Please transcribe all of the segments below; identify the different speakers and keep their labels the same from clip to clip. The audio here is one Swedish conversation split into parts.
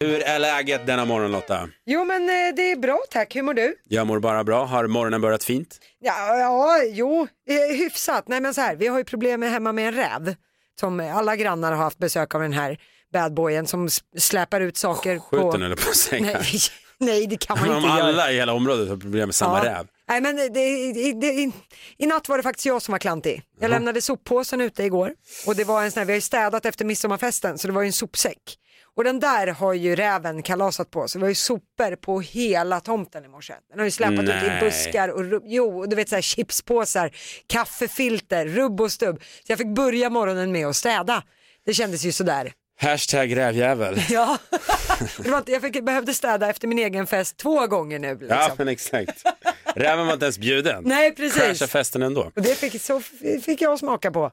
Speaker 1: Hur är läget denna morgon Lotta?
Speaker 2: Jo men eh, det är bra tack, hur mår du?
Speaker 1: Jag mår bara bra. Har morgonen börjat fint?
Speaker 2: Ja, ja jo, eh, hyfsat. Nej men så här, vi har ju problem med hemma med en räv. Som alla grannar har haft besök av den här badboyen som s- släpar ut saker
Speaker 1: Skjuten
Speaker 2: på...
Speaker 1: eller på sängen?
Speaker 2: Nej, nej det kan man
Speaker 1: Om
Speaker 2: inte göra.
Speaker 1: alla i hela området har problem med samma
Speaker 2: Ja.
Speaker 1: räv.
Speaker 2: Nej men det, det, det, i, i natt var det faktiskt jag som var klantig. Jag lämnade soppåsen ute igår och det var en sån här, vi har ju städat efter midsommarfesten så det var ju en sopsäck. Och den där har ju räven kalasat på så det var ju sopor på hela tomten i morse. Den har ju släpat ut
Speaker 1: Nej.
Speaker 2: i buskar och rubb- jo, och du vet så här chipspåsar, kaffefilter, rubb och stubb. Så jag fick börja morgonen med att städa. Det kändes ju sådär.
Speaker 1: Hashtag rävjävel.
Speaker 2: Ja, det var inte, jag fick, behövde städa efter min egen fest två gånger nu. Liksom.
Speaker 1: Ja men exakt. Räven var inte ens bjuden.
Speaker 2: Nej, precis.
Speaker 1: Crashade festen ändå.
Speaker 2: Och det fick, så f- fick jag smaka på.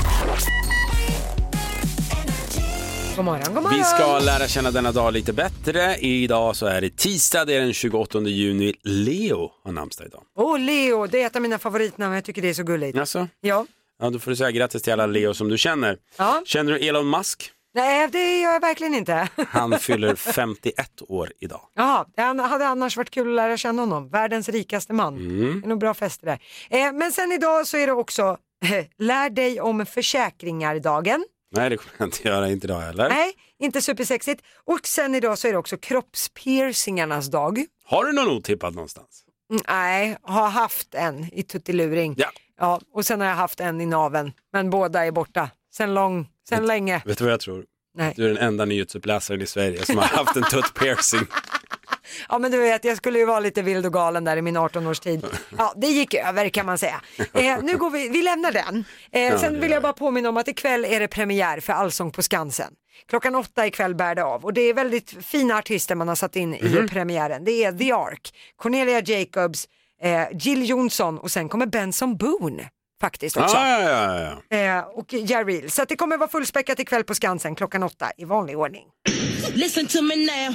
Speaker 2: God morgon, god morgon.
Speaker 1: Vi ska lära känna denna dag lite bättre. Idag så är det tisdag, det är den 28 juni. Leo har namnsdag idag.
Speaker 2: Oh, Leo, det är ett av mina favoritnamn. Jag tycker det är så gulligt.
Speaker 1: Alltså,
Speaker 2: Ja.
Speaker 1: ja, då får du säga grattis till alla Leo som du känner.
Speaker 2: Ja.
Speaker 1: Känner du Elon Musk?
Speaker 2: Nej, det gör jag verkligen inte.
Speaker 1: Han fyller 51 år idag.
Speaker 2: Jaha, det an- hade annars varit kul att lära känna honom. Världens rikaste man.
Speaker 1: Mm.
Speaker 2: Det är nog bra fest det där. Eh, men sen idag så är det också Lär dig om försäkringar-dagen.
Speaker 1: Nej det kommer jag inte göra, inte idag heller.
Speaker 2: Nej, inte supersexigt. Och sen idag så är det också kroppspiercingarnas dag.
Speaker 1: Har du någon otippad någonstans?
Speaker 2: Mm, Nej, har haft en i tuttiluring.
Speaker 1: Ja.
Speaker 2: ja. Och sen har jag haft en i naven. men båda är borta. Sen lång, sen länge.
Speaker 1: Vet du vad jag tror?
Speaker 2: Nej.
Speaker 1: Du är den enda nyhetsuppläsaren i Sverige som har haft en tutt-piercing.
Speaker 2: Ja men du vet, jag skulle ju vara lite vild och galen där i min 18-årstid. Ja, det gick över kan man säga. Eh, nu går vi, vi lämnar den. Eh,
Speaker 1: det
Speaker 2: sen vill
Speaker 1: gör
Speaker 2: jag bara påminna om att ikväll är det premiär för Allsång på Skansen. Klockan åtta ikväll bär det av och det är väldigt fina artister man har satt in
Speaker 1: Mhm.
Speaker 2: i premiären. Det är The Ark, Cornelia Jacobs, eh, Jill Johnson och sen kommer Benson Boone faktiskt också.
Speaker 1: ja, ja, ja.
Speaker 2: Eh, och Jaril. Så att det kommer vara fullspäckat ikväll på Skansen klockan åtta i vanlig ordning.
Speaker 3: Listen to me now.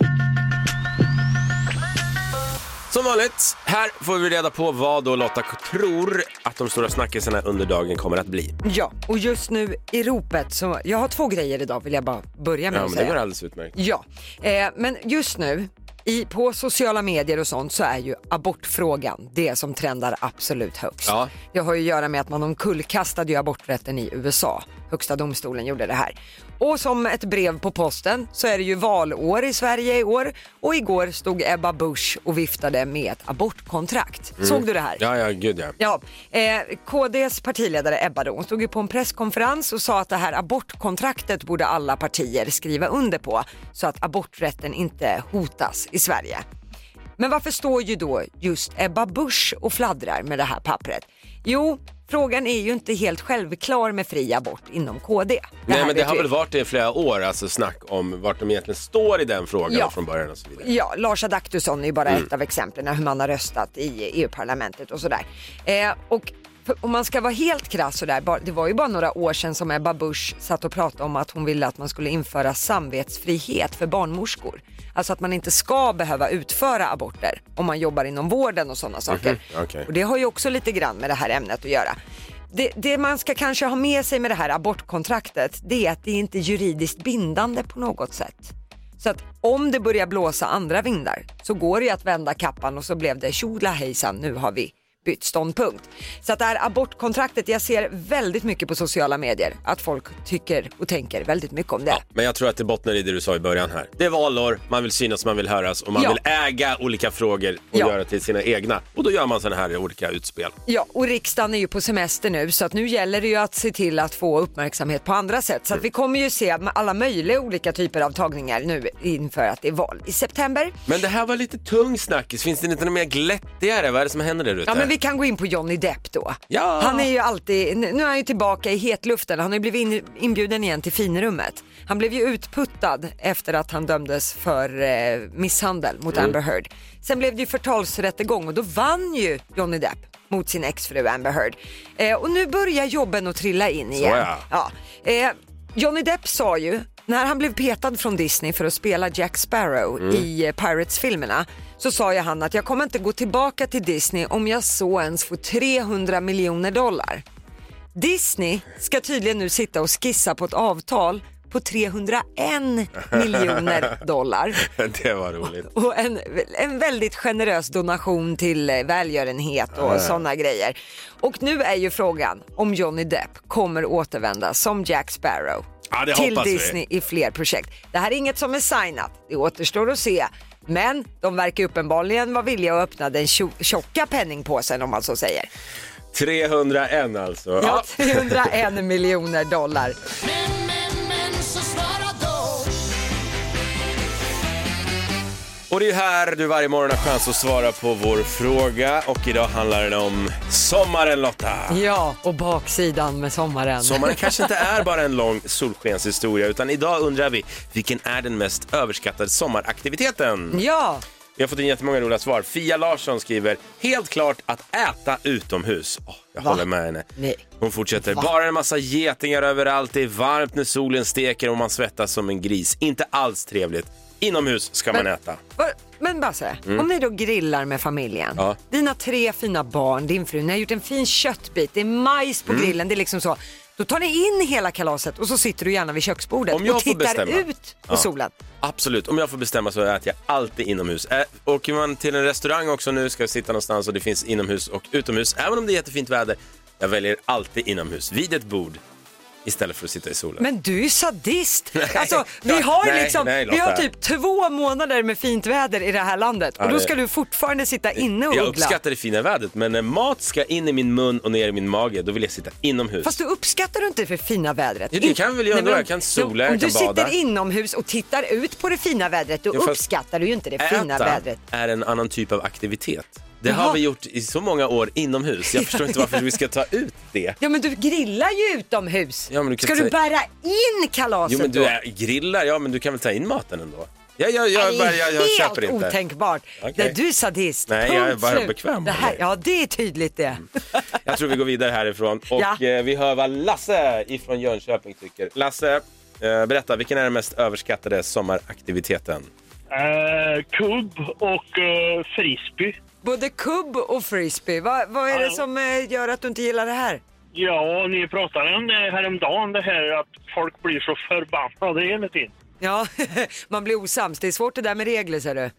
Speaker 1: Som vanligt, här får vi reda på vad då Lotta tror att de stora snackisarna under dagen kommer att bli.
Speaker 2: Ja, och just nu i ropet så, jag har två grejer idag vill jag bara börja med
Speaker 1: Ja, men
Speaker 2: att
Speaker 1: det
Speaker 2: säga.
Speaker 1: går alldeles utmärkt.
Speaker 2: Ja, eh, men just nu i, på sociala medier och sånt så är ju abortfrågan det som trendar absolut högst.
Speaker 1: Ja.
Speaker 2: Det har ju att göra med att man omkullkastade ju aborträtten i USA. Högsta domstolen gjorde det här. Och som ett brev på posten så är det ju valår i Sverige i år och igår stod Ebba Busch och viftade med ett abortkontrakt. Såg du det här?
Speaker 1: Mm. Ja, ja, gud ja.
Speaker 2: Ja, eh, KDs partiledare Ebba då, hon stod ju på en presskonferens och sa att det här abortkontraktet borde alla partier skriva under på så att aborträtten inte hotas i Sverige. Men varför står ju då just Ebba Busch och fladdrar med det här pappret? Jo, frågan är ju inte helt självklar med fri abort inom KD. Det
Speaker 1: Nej,
Speaker 2: här
Speaker 1: men det
Speaker 2: vet
Speaker 1: har
Speaker 2: vi.
Speaker 1: väl varit det i flera år, alltså snack om vart de egentligen står i den frågan
Speaker 2: Ja.
Speaker 1: och från början och så vidare. Mm.
Speaker 2: Ja, Lars Adaktusson är ju bara ett av exemplen hur man har röstat i EU-parlamentet och sådär. Eh, och för- om man ska vara helt krass sådär, bara- det var ju bara några år sedan som Ebba Busch satt och pratade om att hon ville att man skulle införa samvetsfrihet för barnmorskor. Alltså att man inte ska behöva utföra aborter om man jobbar inom vården och sådana saker.
Speaker 1: Mhm, okej.
Speaker 2: Och det har ju också lite grann med det här ämnet att göra. Det, det man ska kanske ha med sig med det här abortkontraktet, det är att det är inte är juridiskt bindande på något sätt. Så att om det börjar blåsa andra vindar så går det ju att vända kappan och så blev det tjola hejsan, nu har vi bytt ståndpunkt. Så att det här abortkontraktet, jag ser väldigt mycket på sociala medier att folk tycker och tänker väldigt mycket om det.
Speaker 1: Ja, men jag tror att det bottnar i det du sa i början här. Det är valår, man vill synas, man vill höras och man
Speaker 2: Ja.
Speaker 1: vill äga olika frågor och
Speaker 2: Ja.
Speaker 1: göra till sina egna. Och då gör man sådana här olika utspel.
Speaker 2: Ja, och riksdagen är ju på semester nu så att nu gäller det ju att se till att få uppmärksamhet på andra sätt. Så att vi kommer ju se alla möjliga olika typer av tagningar nu inför att det är val i september.
Speaker 1: Men det här var lite tung snackis, finns det inte något mer glättigare? Vad är det som händer där ute?
Speaker 2: Ja men vi kan gå in på Johnny Depp då.
Speaker 1: Ja.
Speaker 2: Han är ju alltid, nu är han ju tillbaka i hetluften, han har ju blivit in, inbjuden igen till finrummet. Han blev ju utputtad efter att han dömdes för
Speaker 1: Mm.
Speaker 2: eh, misshandel mot Amber Heard. Sen blev det ju förtalsrättegång och då vann ju Johnny Depp. mot sin exfru Amber Heard. Eh, och nu börjar jobben att trilla in igen.
Speaker 1: ja.
Speaker 2: Ja. Eh, Johnny Depp sa ju, när han blev petad från Disney för att spela Jack Sparrow i eh, Pirates-filmerna, så sa ju han att jag kommer inte gå tillbaka till Disney om jag så ens får 300 miljoner dollar. Disney ska tydligen nu sitta och skissa på ett avtal på 301 miljoner dollar
Speaker 1: Det var roligt.
Speaker 2: och en, en väldigt generös donation till eh, välgörenhet och sådana grejer. Och nu är ju frågan om Johnny Depp kommer återvända som Jack Sparrow
Speaker 1: Ja, det
Speaker 2: till
Speaker 1: hoppas vi.
Speaker 2: Disney i fler projekt. Det här är inget som är signat, det återstår att se. Men de verkar uppenbarligen vara villiga att öppna den tjo- tjocka penningpåsen om man så säger.
Speaker 1: 301 alltså.
Speaker 2: Ja,
Speaker 1: Ja.
Speaker 2: 301 miljoner dollar.
Speaker 4: Men, men, men så svara då
Speaker 1: Och det är ju här du varje morgon har chans att svara på vår fråga och idag handlar den om sommaren Lotta.
Speaker 2: Ja, och baksidan med sommaren.
Speaker 1: Sommaren kanske inte är bara en lång solskenshistoria utan idag undrar vi vilken är den mest överskattade sommaraktiviteten?
Speaker 2: Ja,
Speaker 1: Vi har fått in jättemånga roliga svar. Fia Larsson skriver helt klart att äta utomhus. Åh, jag
Speaker 2: Va?
Speaker 1: håller med henne.
Speaker 2: Nej.
Speaker 1: Hon fortsätter.
Speaker 2: Va?
Speaker 1: Bara en massa getingar överallt. Det är varmt när solen steker och man svettas som en gris. Inte alls trevligt. Inomhus ska man
Speaker 2: Men-
Speaker 1: äta.
Speaker 2: Va- Men Basse, om ni då grillar med familjen,
Speaker 1: Mm. Ja.
Speaker 2: dina tre fina barn, din fru, ni har gjort en fin köttbit, det är majs
Speaker 1: Mm.
Speaker 2: på grillen, det är liksom så. Då tar ni in hela kalaset och så sitter du gärna vid köksbordet
Speaker 1: Om jag
Speaker 2: och
Speaker 1: får
Speaker 2: tittar
Speaker 1: bestämma.
Speaker 2: ut på
Speaker 1: Ja.
Speaker 2: solen.
Speaker 1: Absolut, om jag får bestämma så äter jag alltid inomhus. Ä- Åker man till en restaurang också nu, ska jag sitta någonstans och det finns inomhus och utomhus, även om det är jättefint väder, jag väljer alltid inomhus, vid ett bord, istället för att sitta i solen.
Speaker 2: Men du är ju sadist!
Speaker 1: Nej.
Speaker 2: Alltså, vi har
Speaker 1: Nej,
Speaker 2: liksom,
Speaker 1: nej, Lotta.
Speaker 2: vi har typ två månader med fint väder i det här landet och
Speaker 1: Ja,
Speaker 2: då
Speaker 1: det-
Speaker 2: ska du fortfarande sitta inne och
Speaker 1: jag
Speaker 2: uggla.
Speaker 1: uppskattar det fina vädret, men när mat ska in i min mun och ner i min mage, då vill jag sitta inomhus.
Speaker 2: Fast du uppskattar du inte för fina vädret?
Speaker 1: Jo, det
Speaker 2: In-
Speaker 1: kan väl jag
Speaker 2: Nej,
Speaker 1: ändå.
Speaker 2: men om-
Speaker 1: Jag kan sola,
Speaker 2: Om
Speaker 1: jag
Speaker 2: du
Speaker 1: kan bada.
Speaker 2: sitter inomhus och tittar ut på det fina vädret, då
Speaker 1: Jo, fast-
Speaker 2: uppskattar du ju inte det
Speaker 1: Äta
Speaker 2: fina vädret.
Speaker 1: är en annan typ av aktivitet. Det
Speaker 2: Jaha.
Speaker 1: har vi gjort i så många år inomhus. Jag förstår inte varför vi ska ta ut det.
Speaker 2: Ja men du grillar ju utomhus.
Speaker 1: Ja, men du kan
Speaker 2: Ska du
Speaker 1: säga-
Speaker 2: bära in kalaset
Speaker 1: Jo men du
Speaker 2: Alltså då?
Speaker 1: är, grillar, ja men du kan väl ta in maten ändå? Ja, ja,
Speaker 2: Det
Speaker 1: jag,
Speaker 2: är
Speaker 1: jag, jag, jag
Speaker 2: helt
Speaker 1: köper inte.
Speaker 2: otänkbart.
Speaker 1: Okej.
Speaker 2: Det, du är sadist.
Speaker 1: Nej,
Speaker 2: Punkt
Speaker 1: jag är bara
Speaker 2: slut.
Speaker 1: bekväm
Speaker 2: Det här,
Speaker 1: med det. Mm.
Speaker 2: ja, det är tydligt det.
Speaker 1: Jag tror vi går vidare härifrån och
Speaker 2: Ja.
Speaker 1: eh, vi hör vad Lasse ifrån Jönköping tycker. Lasse, eh, berätta, vilken är den mest överskattade sommaraktiviteten?
Speaker 5: Eh, kubb och eh, frisbee.
Speaker 2: Både kubb och frisbee. Vad, vad är det som eh, gör att du inte gillar det här?
Speaker 5: Ja, ni pratade om det häromdagen, det här att folk blir så förbannade hela tiden.
Speaker 2: Ja, man blir osams. Det är svårt det där med regler ser du.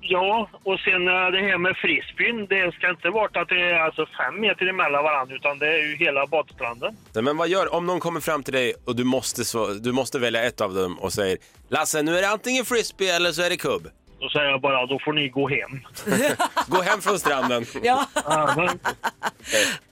Speaker 5: Ja, och sen eh, det här med frisbeen, det ska inte vara att det är alltså fem meter emellan varandra utan det är ju hela badstranden.
Speaker 1: Men vad gör om någon kommer fram till dig och du måste, så, du måste välja ett av dem och säger Lasse, nu är det antingen frisbee eller så är det kubb.
Speaker 5: Då säger jag bara, då får ni gå hem.
Speaker 1: Gå hem från stranden.
Speaker 2: Ja.
Speaker 5: Ja, men-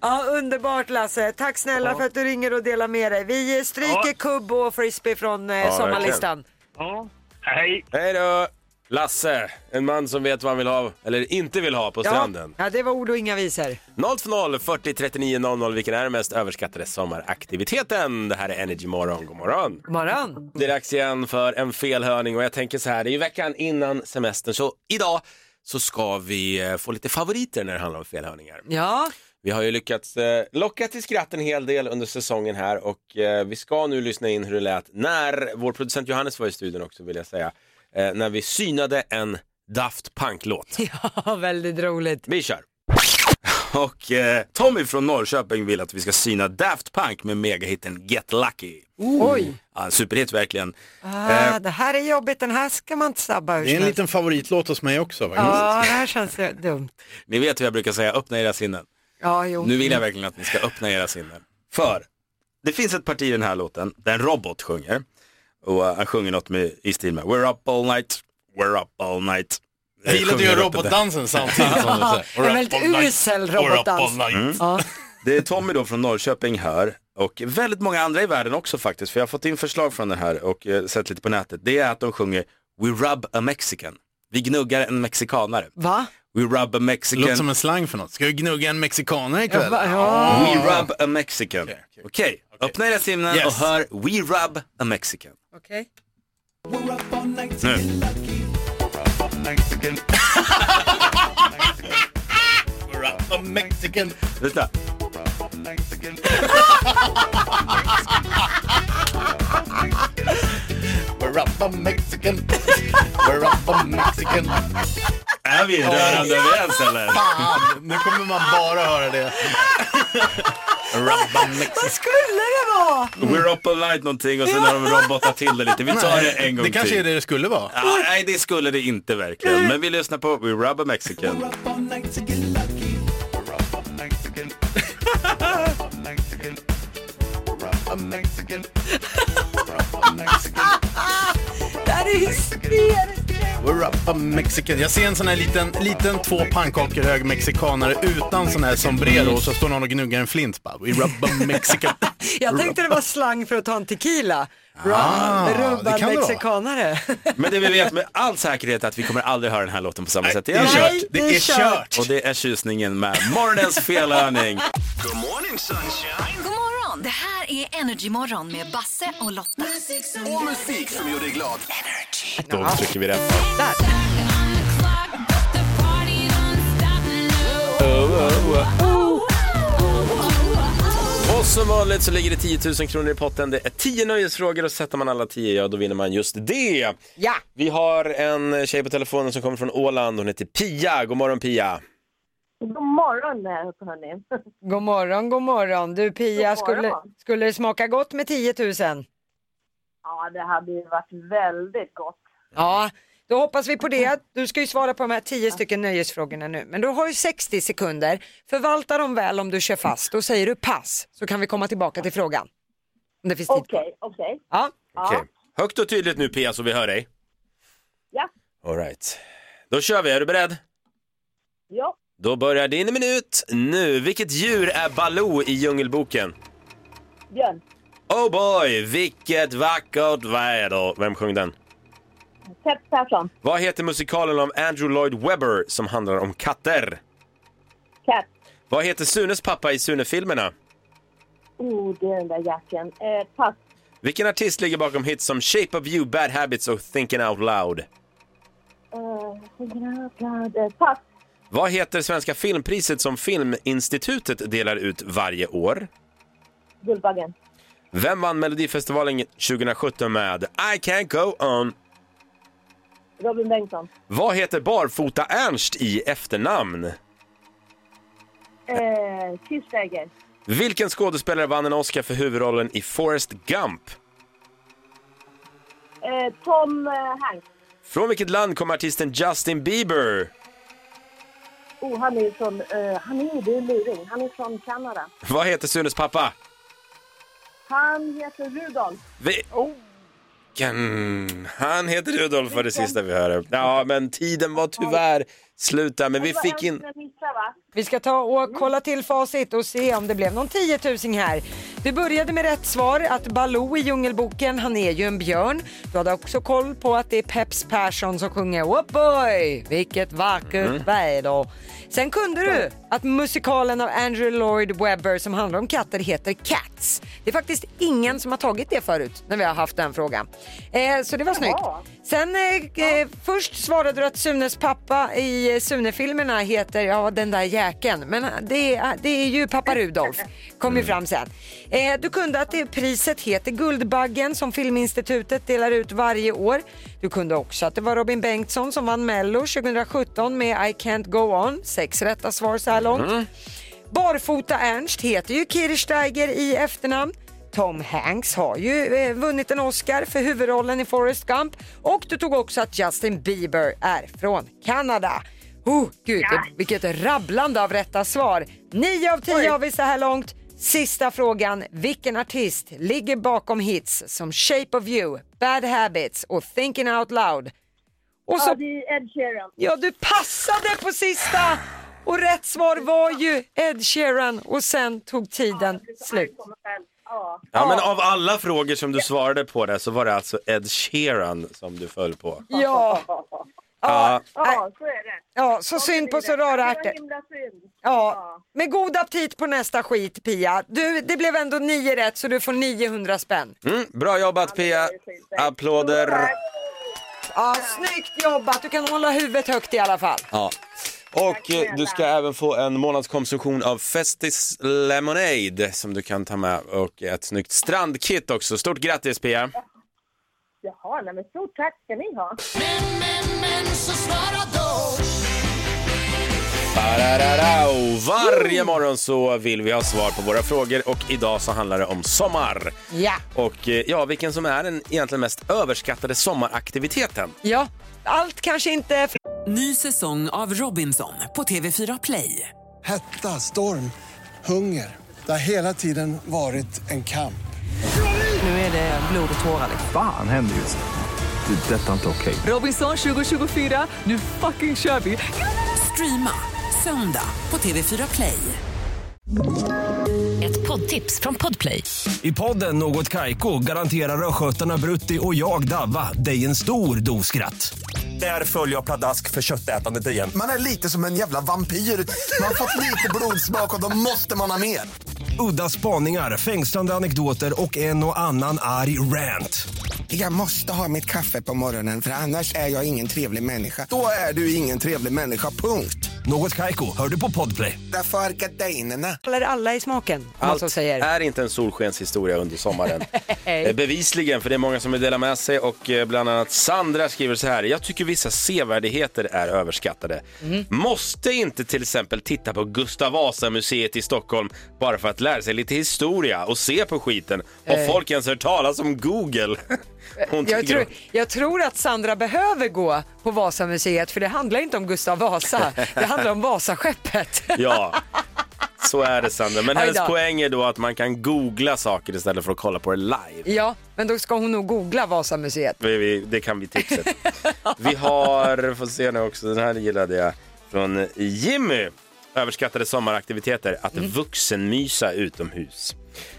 Speaker 2: ja, underbart Lasse. Tack snälla för att du ringer och delar med dig. Vi eh, stryker
Speaker 5: Ja.
Speaker 2: kubb och frisbee från eh,
Speaker 1: Ja,
Speaker 2: sommarlistan.
Speaker 5: ja. Hej!
Speaker 1: Hej då! Lasse, en man som vet vad han vill ha eller inte vill ha på
Speaker 2: Ja.
Speaker 1: stranden.
Speaker 2: ja, det var ord och inga visor.
Speaker 1: 020 40 39 00, vilken är den mest överskattade sommaraktiviteten? Det här är Energy Morgon, god morgon!
Speaker 2: Morgon.
Speaker 1: Det är dags igen för en felhörning och jag tänker så här, det är ju veckan innan semestern så idag så ska vi eh, få lite favoriter när det handlar om felhörningar.
Speaker 2: Ja,
Speaker 1: Vi har ju lyckats eh, locka till skratt en hel del under säsongen här och eh, vi ska nu lyssna in hur det lät när vår producent Johannes var i studion också vill jag säga, eh, när vi synade en Daft Punk-låt.
Speaker 2: ja väldigt roligt.
Speaker 1: Vi kör!
Speaker 6: Och eh, Tommy från Norrköping vill att vi ska syna Daft Punk med megahitten Get Lucky.
Speaker 2: Oj.
Speaker 6: Ja, en superhit verkligen.
Speaker 1: Eh,
Speaker 2: Ah, det här är jobbigt, den här ska man inte sabba ur
Speaker 7: Eh. Det är en
Speaker 2: sig.
Speaker 7: liten favoritlåt hos mig också. faktiskt.
Speaker 2: Ja, det här känns ju dumt.
Speaker 6: Ni vet hur jag brukar säga, öppna era sinnen.
Speaker 2: Ja, jo.
Speaker 6: Nu vill jag verkligen att ni ska öppna era sinnen. För det finns ett parti i den här låten där en robot sjunger. Och eh, han sjunger något med, i stil med We're up all night, we're up all night. Eh,
Speaker 7: Jag gillade ju
Speaker 6: sjunger roboten där.
Speaker 7: robotdansen samtidigt som de
Speaker 2: En väldigt usel robotdans.
Speaker 7: Mm.
Speaker 2: Ja.
Speaker 6: Det är Tommy då från Norrköping här och väldigt många andra i världen också faktiskt för jag har fått in förslag från den här och eh, sett lite på nätet. Det är att de sjunger We rub a mexican. Vi gnuggar en mexikanare.
Speaker 2: Va?
Speaker 6: We rub a
Speaker 7: Det låter som
Speaker 6: mexican.
Speaker 7: en slang för något. Ska vi gnugga en mexikanare ikväll?
Speaker 2: Va- Ja.
Speaker 6: We rub a mexican. Okej, öppna era sinnen
Speaker 7: Yes.
Speaker 6: och hör We rub a mexican.
Speaker 2: Okej.
Speaker 6: Nu. a mexican. Lyssna. We're up a mexican. We're up a mexican. Är vi rörande överens eller?
Speaker 7: Fan, Ah, nu kommer man bara höra det.
Speaker 6: Rubba mexican.
Speaker 2: Vad skulle det vara?
Speaker 6: We're up all night någonting och sen har de robotat till det lite. Vi tar det en gång
Speaker 7: Det kanske
Speaker 6: till.
Speaker 7: är det det skulle vara.
Speaker 6: Ah, nej, det skulle det inte verkligen. Men vi lyssnar på We Rubba Mexican.
Speaker 2: Det här är hysteriskt.
Speaker 7: We're up a mexican. Jag ser en sån här liten, liten två pannkakor hög mexikanare utan sån här sombrero och så står någon och gnuggar en flint. Bara, We rub a mexican.
Speaker 2: Jag tänkte det var slang för att ta en tequila.
Speaker 7: Ah, det
Speaker 2: Rubbad
Speaker 7: kan det vara.
Speaker 2: mexikanare.
Speaker 6: Men det vi vet med all säkerhet är att vi kommer aldrig höra den här låten på samma sätt igen.
Speaker 2: det är kört.
Speaker 7: Det är kört.
Speaker 6: Och det är tjusningen med morgonens felhörning.
Speaker 8: God morgon! Det här är Energymorgon med Basse och Lotta.
Speaker 6: Då trycker vi det.
Speaker 1: Och som vanligt så ligger det 10 000 kronor i potten. Det är 10 nöjesfrågor och sätter man alla 10, ja då vinner man just det.
Speaker 2: Ja.
Speaker 1: Vi har en tjej på telefonen som kommer från Åland. Hon heter Pia. God morgon Pia.
Speaker 8: God morgon, eh, hörni.
Speaker 2: God morgon, god morgon. Du Pia,
Speaker 8: God morgon.
Speaker 2: Skulle, skulle det smaka gott med 10 000?
Speaker 8: Ja, det hade ju varit väldigt gott.
Speaker 2: Ja, då hoppas vi på det. Du ska ju svara på de här 10 stycken nöjesfrågorna nu. Men du har ju 60 sekunder. Förvalta dem väl om du kör fast. Då säger du pass, så kan vi komma tillbaka till frågan. Om det finns tid kvar.
Speaker 8: Okej, okej.
Speaker 2: Ja.
Speaker 1: Okej. Högt och tydligt nu Pia så vi hör dig.
Speaker 8: Ja.
Speaker 1: All right. Då kör vi. Är du beredd?
Speaker 8: Ja.
Speaker 1: Då börjar din minut nu. Vilket djur är Baloo i Djungelboken?
Speaker 8: Björn.
Speaker 1: Oh boy, vilket vackert väder. Vem sjöng den?
Speaker 8: Peps Persson.
Speaker 1: Vad heter musikalen om Andrew Lloyd Webber som handlar om katter?
Speaker 8: Cat.
Speaker 1: Vad heter Sunes pappa i Sune-filmerna?
Speaker 8: Oh, det är den där jacken. Eh, pass.
Speaker 1: Vilken artist ligger bakom hits som Shape of You, Bad Habits och Thinking Out Loud?
Speaker 8: Eh, hundra blad. Eh, pass.
Speaker 1: Vad heter Svenska filmpriset som Filminstitutet delar ut varje år?
Speaker 8: Guldbaggen.
Speaker 1: Vem vann Melodifestivalen 2017 med I can't go on?
Speaker 8: Robin Bengtsson.
Speaker 1: Vad heter Barfota Ernst i efternamn?
Speaker 8: Eh, Kirchsteiger.
Speaker 1: Vilken skådespelare vann en Oscar för huvudrollen i Forrest Gump?
Speaker 8: Eh, Tom eh, Hanks.
Speaker 1: Från vilket land kom artisten Justin Bieber?
Speaker 8: Oh, han är ju från... Eh, han är ju det är en luring. Han är från Kanada.
Speaker 1: Vad heter Sunes pappa?
Speaker 8: Han heter Rudolf.
Speaker 1: Vi... Kan... Han heter Rudolf var det sista vi hörde. Ja, men tiden var tyvärr slut där, men vi
Speaker 8: Det var
Speaker 1: fick
Speaker 8: en
Speaker 1: in...
Speaker 8: som jag missade, va?
Speaker 2: Vi ska ta och kolla till facit och se om det blev någon 10 000 här. Du började med rätt svar att Baloo i Djungelboken, han är ju en björn. Du hade också koll på att det är Peps Persson som sjunger Oh boy, vilket vackert väder. Sen kunde du att musikalen av Andrew Lloyd Webber som handlar om katter heter Cats. Det är faktiskt ingen som har tagit det förut när vi har haft den frågan. Eh, så det var snyggt. Sen eh, eh, först svarade du att Sunes pappa i eh, Sune-filmerna heter ja den där jäkeln. Men eh, det är, det är ju pappa Rudolf. Kom ju fram sen. Eh, du kunde att det, priset heter Guldbaggen som Filminstitutet delar ut varje år. Du kunde också att det var Robin Bengtsson som vann Mello 2017 med I can't go on. Sex rätta svar så här långt. Barfota Ernst heter ju Kirchsteiger i efternamn. Tom Hanks har ju eh, vunnit en Oscar för huvudrollen i Forrest Gump och du tog också att Justin Bieber är från Kanada. Oh, gud, vilket rabblande av rätta svar. 9 av 10 har vi så här långt. Sista frågan, vilken artist ligger bakom hits som Shape of You, Bad Habits och Thinking Out Loud? Och så
Speaker 8: Ja, det är Ed Sheeran.
Speaker 2: Ja, du passade på sista! Och rätt svar var ju Ed Sheeran och sen tog tiden slut.
Speaker 8: Ja.
Speaker 1: Ja, men av alla frågor som du svarade på där så var det alltså Ed Sheeran som du föll på.
Speaker 2: Ja,
Speaker 1: Ja,
Speaker 8: ja, så är det.
Speaker 2: ja så synd på så rara ärtor.
Speaker 8: Det var himla synd.
Speaker 2: Ja, med god aptit på nästa skit Pia. Du, det blev ändå nio rätt så du får 900 spänn.
Speaker 1: mm, bra jobbat Pia! Applåder!
Speaker 2: Ja, snyggt jobbat, du kan hålla huvudet högt i alla fall.
Speaker 1: Ja. Och eh, du ska även få en månadskonsumtion av Festis Lemonade som du kan ta med och ett snyggt strandkit också. Stort grattis Pia!
Speaker 9: Jaha, nej men stort tack ska ni ha.
Speaker 1: Barararau. Varje morgon så vill vi ha svar på våra frågor och idag så handlar det om sommar.
Speaker 2: Ja.
Speaker 1: Och eh, ja, vilken som är den egentligen mest överskattade sommaraktiviteten.
Speaker 2: Ja, allt kanske inte...
Speaker 10: Ny säsong av Robinson på TV4 Play.
Speaker 11: Hetta, storm, hunger. Det har hela tiden varit en kamp.
Speaker 10: Nu är det blod och tårar.
Speaker 12: Fan händer just det. Det är detta inte okej.
Speaker 10: Robinson 2024, nu fucking kör vi! Streama söndag på TV4 Play.
Speaker 13: Ett poddtips från Podplay.
Speaker 14: I podden Något Kaiko garanterar östgötarna Brutti och jag, Davva, dig en stor dos skratt. Där följer jag pladask för köttätandet igen.
Speaker 15: Man är lite som en jävla vampyr. Man har fått lite blodsmak och då måste man ha mer.
Speaker 14: Udda spaningar, fängslande anekdoter och en och annan arg rant.
Speaker 16: Jag måste ha mitt kaffe på morgonen för annars är jag ingen trevlig människa.
Speaker 15: Då är du ingen trevlig människa, punkt.
Speaker 14: Något Kaiko, hör du på Podplay.
Speaker 15: Därför är gardinerna.
Speaker 2: Faller alla i smaken?
Speaker 1: Allt är inte en solskenshistoria under sommaren. Eh, Bevisligen, för det är många som vill dela med sig och eh, bland annat Sandra skriver så här. Jag tycker vissa sevärdheter är överskattade.
Speaker 2: Mhm.
Speaker 1: Måste inte till exempel titta på Gustav Vasa-museet i Stockholm bara för att lära sig lite historia och se på skiten. Har
Speaker 2: Eh.
Speaker 1: folk ens hört talas om Google? Hon
Speaker 2: Jag
Speaker 1: tycker-
Speaker 2: tror, jag tror att Sandra behöver gå på Vasamuseet för det handlar inte om Gustav Vasa, det handlar om Vasaskeppet.
Speaker 1: Ja, så är det Sandra. Men
Speaker 2: Aj
Speaker 1: hennes
Speaker 2: då.
Speaker 1: poäng är då att man kan googla saker istället för att kolla på det live.
Speaker 2: Ja, men då ska hon nog googla Vasamuseet.
Speaker 1: Vi- vi- Det kan vi tipsa. Vi har, får se nu också, den här gillade jag, från Jimmy. Överskattade sommaraktiviteter, att
Speaker 2: Mm.
Speaker 1: vuxenmysa utomhus.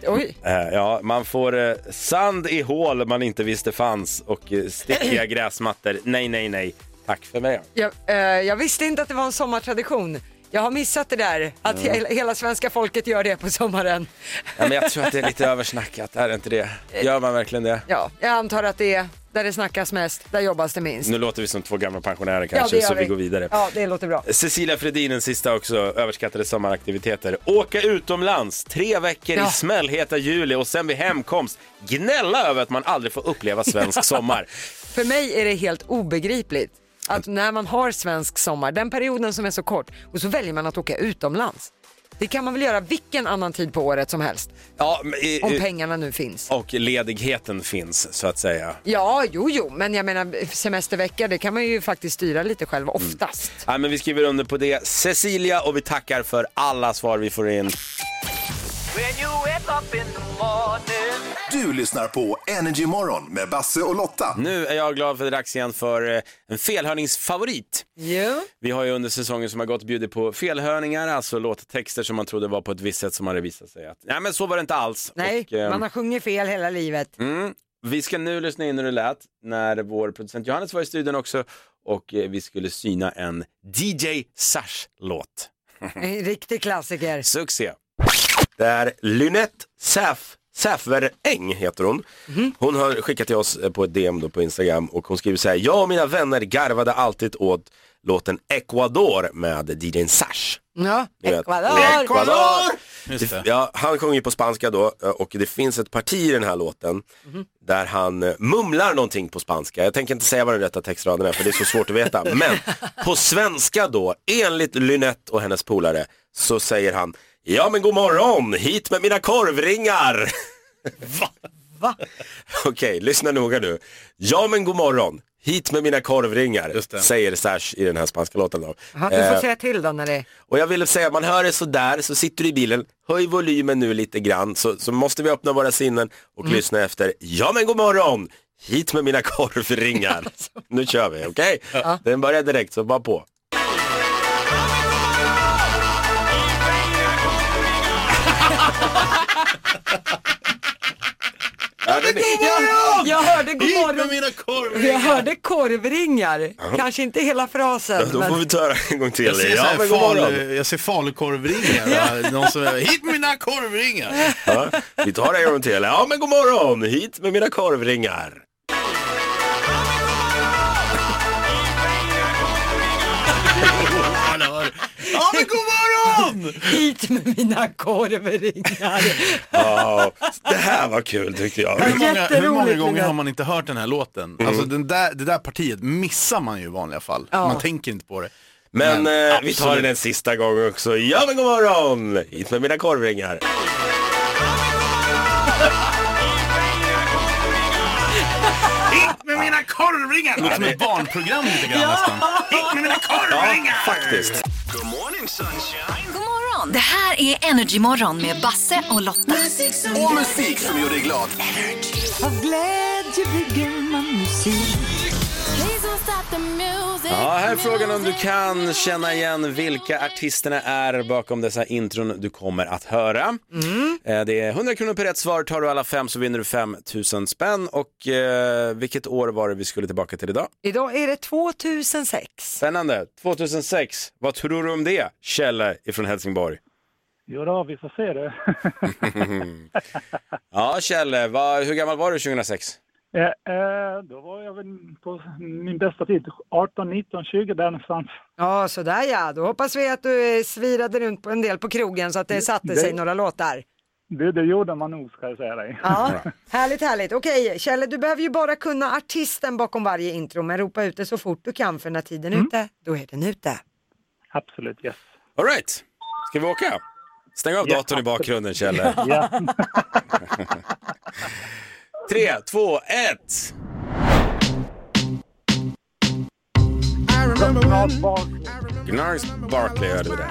Speaker 2: Oj.
Speaker 1: Eh, Ja, man får eh, sand i hål man inte visste fanns och eh, stickiga gräsmattor. Nej, nej, nej. Tack för mig.
Speaker 2: Jag, eh, jag visste inte att det var en sommartradition. Jag har missat det där, att
Speaker 1: Ja.
Speaker 2: he- hela svenska folket gör det på sommaren.
Speaker 1: Ja, men jag tror att det är lite översnackat, är det inte det?
Speaker 2: Eh.
Speaker 1: Gör man verkligen det?
Speaker 2: Ja, jag antar att det är där det snackas mest, där jobbas det minst.
Speaker 1: Nu låter vi som två gamla pensionärer
Speaker 2: Ja,
Speaker 1: kanske,
Speaker 2: det gör
Speaker 1: så vi går vidare. Eh.
Speaker 2: Ja, det låter bra.
Speaker 1: Cecilia Fredin, den sista också, överskattade sommaraktiviteter. Åka utomlands tre veckor i
Speaker 2: Ja.
Speaker 1: smällheta juli och sen vid hemkomst gnälla över att man aldrig får uppleva svensk sommar.
Speaker 2: För mig är det helt obegripligt att när man har svensk sommar, den perioden som är så kort, och så väljer man att åka utomlands. Det kan man väl göra vilken annan tid på året som helst,
Speaker 1: Ja, men, eh,
Speaker 2: om
Speaker 1: eh,
Speaker 2: pengarna nu finns.
Speaker 1: Och ledigheten finns, så att säga.
Speaker 2: Ja, jo, jo, men jag menar semestervecka, det kan man ju faktiskt styra lite själv oftast.
Speaker 1: Ja, men vi skriver under på det, Cecilia, och vi tackar för alla svar vi får in.
Speaker 15: Du lyssnar på Energy Morgon med Basse och Lotta.
Speaker 1: Nu är jag glad för det är dags igen för eh, en felhörningsfavorit. Vi har ju under säsongen som har gått bjudit på felhörningar, alltså låttexter som man trodde var på ett visst sätt som hade visat sig att, nej men så var det inte alls.
Speaker 2: Nej,
Speaker 1: Och, ehm,
Speaker 2: man har sjungit fel hela livet.
Speaker 1: Mm. Vi ska nu lyssna in hur det lät när vår producent Johannes var i studion också och eh, vi skulle syna en DJ Sash-låt.
Speaker 2: En riktig klassiker.
Speaker 1: Succé.
Speaker 6: Det är Lynette Säf, Säfveräng heter hon. Hon har skickat till oss eh, på ett DM då på Instagram och hon skriver så här. Jag och mina vänner garvade alltid åt låten Ecuador med DJn Sash.
Speaker 2: Ja,
Speaker 6: Ni vet.
Speaker 2: Ecuador!
Speaker 6: Det- Ja, han sjunger på spanska då eh, och det finns ett parti i den här låten
Speaker 2: Mhm.
Speaker 6: där han eh, mumlar någonting på spanska. Jag tänker inte säga vad den rätta textraden är för det är så svårt att veta. Men på svenska då, enligt Lynette och hennes polare, så säger han Ja men god morgon, hit med mina korvringar!
Speaker 2: Va?
Speaker 6: Okej, lyssna noga nu. Ja men god morgon, hit med mina korvringar, säger Sash i den här spanska låten då.
Speaker 2: Ja, Du får
Speaker 6: Eh,
Speaker 2: säga till då när det
Speaker 6: och jag ville säga, man hör det sådär, så sitter du i bilen, höj volymen nu lite grann, så, så måste vi öppna våra sinnen och
Speaker 2: Mm.
Speaker 6: lyssna efter, ja men god morgon, hit med mina korvringar. nu kör vi, okej? Den börjar direkt, så bara på. Ja, den är-
Speaker 2: Jag, jag hörde god
Speaker 7: Hit
Speaker 2: morgon.
Speaker 7: med mina korvringar!
Speaker 2: Jag hörde korvringar.
Speaker 6: Ja.
Speaker 2: Kanske inte hela frasen.
Speaker 6: Då får vi ta det en gång till.
Speaker 7: Jag ser,
Speaker 6: Ja,
Speaker 7: ja,
Speaker 6: men god morgon.
Speaker 7: fal, jag ser falukorvringar. ja. Någon som är, hit med mina korvringar.
Speaker 6: Ja, vi tar det en gång till. Ja men god morgon, hit med mina korvringar.
Speaker 7: Hallå. Ja, men god morgon!
Speaker 2: Hit med mina korvringar.
Speaker 6: Ja, det här var kul tyckte jag.
Speaker 7: Hur många, hur många
Speaker 2: Jätteroligt,
Speaker 7: gånger
Speaker 2: Linda.
Speaker 7: har man inte hört den här låten? Alltså den där, det där partiet missar man ju i vanliga fall.
Speaker 2: Ja.
Speaker 7: Man tänker inte på det.
Speaker 6: Men, eh, vi
Speaker 7: absolut.
Speaker 6: tar den en sista gång också. Ja men god morgon! Hit med mina korvringar.
Speaker 7: Hit med mina korvringar! Det låter som ett barnprogram lite grann nästan. Hit med mina korvringar! Ja,
Speaker 6: faktiskt.
Speaker 8: God morgon! Det här är Energy Morgon med Basse och Lotta.
Speaker 13: Och musik som gör dig glad.
Speaker 8: Av glädje bygger man musik.
Speaker 1: Ja, här är frågan om du kan känna igen vilka artisterna är bakom dessa intron du kommer att höra.
Speaker 6: Mm.
Speaker 1: Eh, Det är 100 kronor per rätt svar. Tar du alla fem så vinner du 5 000 spänn. Och eh, vilket år var det vi skulle tillbaka till idag?
Speaker 2: Idag är det 2006.
Speaker 1: Spännande. 2006. Vad tror du om det? Kjelle ifrån Helsingborg.
Speaker 17: Jo då, vi får se det.
Speaker 1: ja, Kjelle, vad, hur gammal var du 2006?
Speaker 17: Eh, eh, då var jag väl på min bästa tid, 18, 19, 20 där någonstans.
Speaker 2: Ja, sådär ja. Då hoppas vi att du eh, svirade runt på en del på krogen så att det satte sig
Speaker 17: det-
Speaker 2: några låtar.
Speaker 17: Det, det gjorde man nog ska jag säga dig.
Speaker 2: Ja, härligt, härligt. Okej, Kjelle, du behöver ju bara kunna artisten bakom varje intro, men ropa ut det så fort du kan för när tiden är ute, då är den ute.
Speaker 17: Absolut, yes.
Speaker 1: All right. Ska vi åka? Stäng av
Speaker 17: Ja,
Speaker 1: datorn i bakgrunden, Kjelle.
Speaker 17: Ja.
Speaker 1: Tre, två, ett. Gnargs Barkley hörde vi där.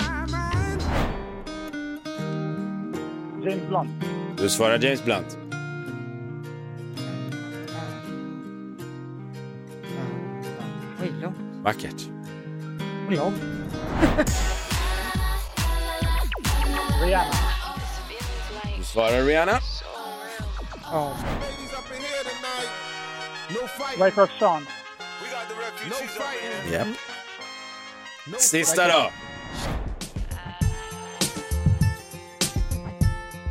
Speaker 17: James Blunt.
Speaker 1: Du svarar James Blunt.
Speaker 2: Oj, lång.
Speaker 1: Vackert.
Speaker 17: Ja. Rihanna.
Speaker 1: Du svarar Rihanna.
Speaker 17: Ja. Wake up Sean.
Speaker 1: Japp.
Speaker 2: Mm.
Speaker 1: Sista då.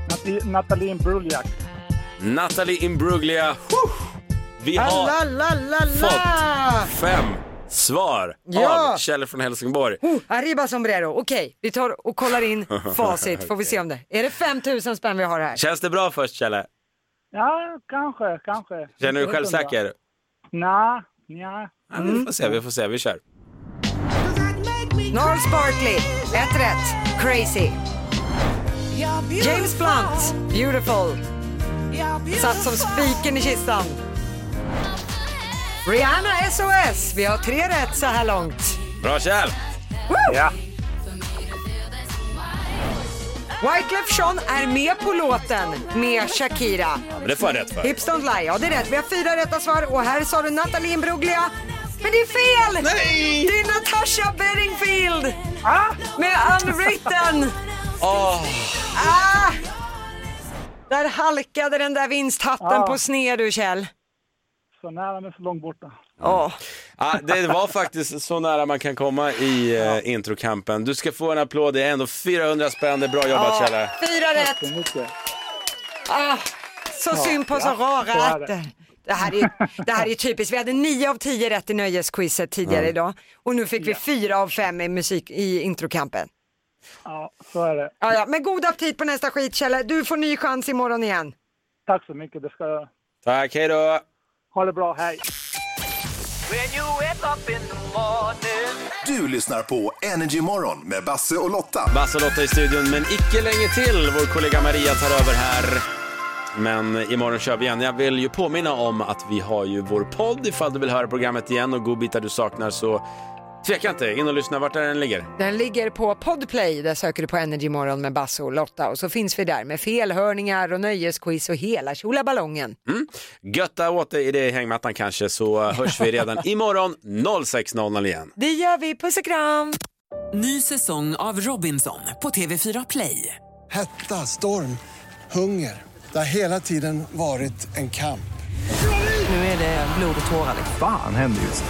Speaker 17: Nat- Nathalie Imbruglia.
Speaker 1: Natalie Imbruglia. Huh! Vi har
Speaker 2: Alla, Ah, la, la, la!
Speaker 1: fått fem svar
Speaker 2: Ja!
Speaker 1: av Kjell från Helsingborg.
Speaker 2: Oh, arriba sombrero. Okej, vi tar och kollar in facit, får vi se om det. Är det 5000 spänn vi har här?
Speaker 1: Känns det bra först, Kjelle?
Speaker 17: Ja, kanske, kanske.
Speaker 1: Känner du dig självsäker?
Speaker 17: Nej, nja.
Speaker 1: Ja, vi får se, vi får se, vi kör.
Speaker 2: Norris Barkley, ett rätt. Crazy. James Blunt, beautiful. Satt som spiken i kistan. Rihanna SOS, vi har tre rätt så här långt.
Speaker 1: Bra Kjell!
Speaker 2: Woo!
Speaker 1: Ja.
Speaker 2: Wyclef Jean är med på låten med Shakira.
Speaker 1: Men det får jag rätt för.
Speaker 2: Hips don't lie, ja det är rätt. Vi har fyra rätta svar och här sa du Nathalie Imbruglia. Men det är fel! Nej! Det är Natasha Bedingfield!
Speaker 17: Ah!
Speaker 2: Med Unwritten!
Speaker 1: Åh.
Speaker 2: Ah! Där halkade den där vinsthatten på sned du Kjell.
Speaker 17: Ah. Så nära men så långt borta.
Speaker 2: Ja.
Speaker 1: Ja, det var faktiskt så nära man kan komma i eh, introkampen. Du ska få en applåd, det är ändå 400 spänn. Det är bra jobbat
Speaker 2: Ja,
Speaker 1: Kjelle.
Speaker 2: Fyra rätt! Ah, så
Speaker 17: Ja,
Speaker 2: synd på så
Speaker 17: ja,
Speaker 2: rara
Speaker 17: så är det.
Speaker 2: rätter. Det här, är, det här är typiskt. Vi hade nio av tio rätt i nöjesquizet tidigare
Speaker 1: Ja.
Speaker 2: idag och nu fick vi fyra av fem i, musik, i introkampen.
Speaker 17: Ja, så är det.
Speaker 2: Ja, ja. Men god aptit på nästa skit Kjelle. Du får ny chans imorgon igen.
Speaker 17: Tack så mycket, det ska jag.
Speaker 1: Tack, hej då!
Speaker 17: Ha det bra, hej.
Speaker 13: Du lyssnar på Energy Morgon med Basse och Lotta.
Speaker 1: Basse och Lotta i studion, men icke länge till. Vår kollega Maria tar över här. Men imorgon kör vi igen. Jag vill ju påminna om att vi har ju vår podd ifall du vill höra programmet igen och godbitar du saknar så tveka inte, in och lyssna vart där den ligger.
Speaker 2: Den ligger på Podplay. Där söker du på Energy Morgon med Basse och Lotta och så finns vi där med felhörningar och nöjesquiz och hela tjolaballongen.
Speaker 1: Mm. Götta åt dig i det i hängmattan kanske så hörs vi redan imorgon 06.00 igen.
Speaker 2: Det gör vi. Puss och kram!
Speaker 10: Ny säsong av Robinson på TV4 Play.
Speaker 11: Hetta, storm, hunger. Det har hela tiden varit en kamp.
Speaker 10: Nu är det blod och tårar. liksom.
Speaker 12: Fan händer just det.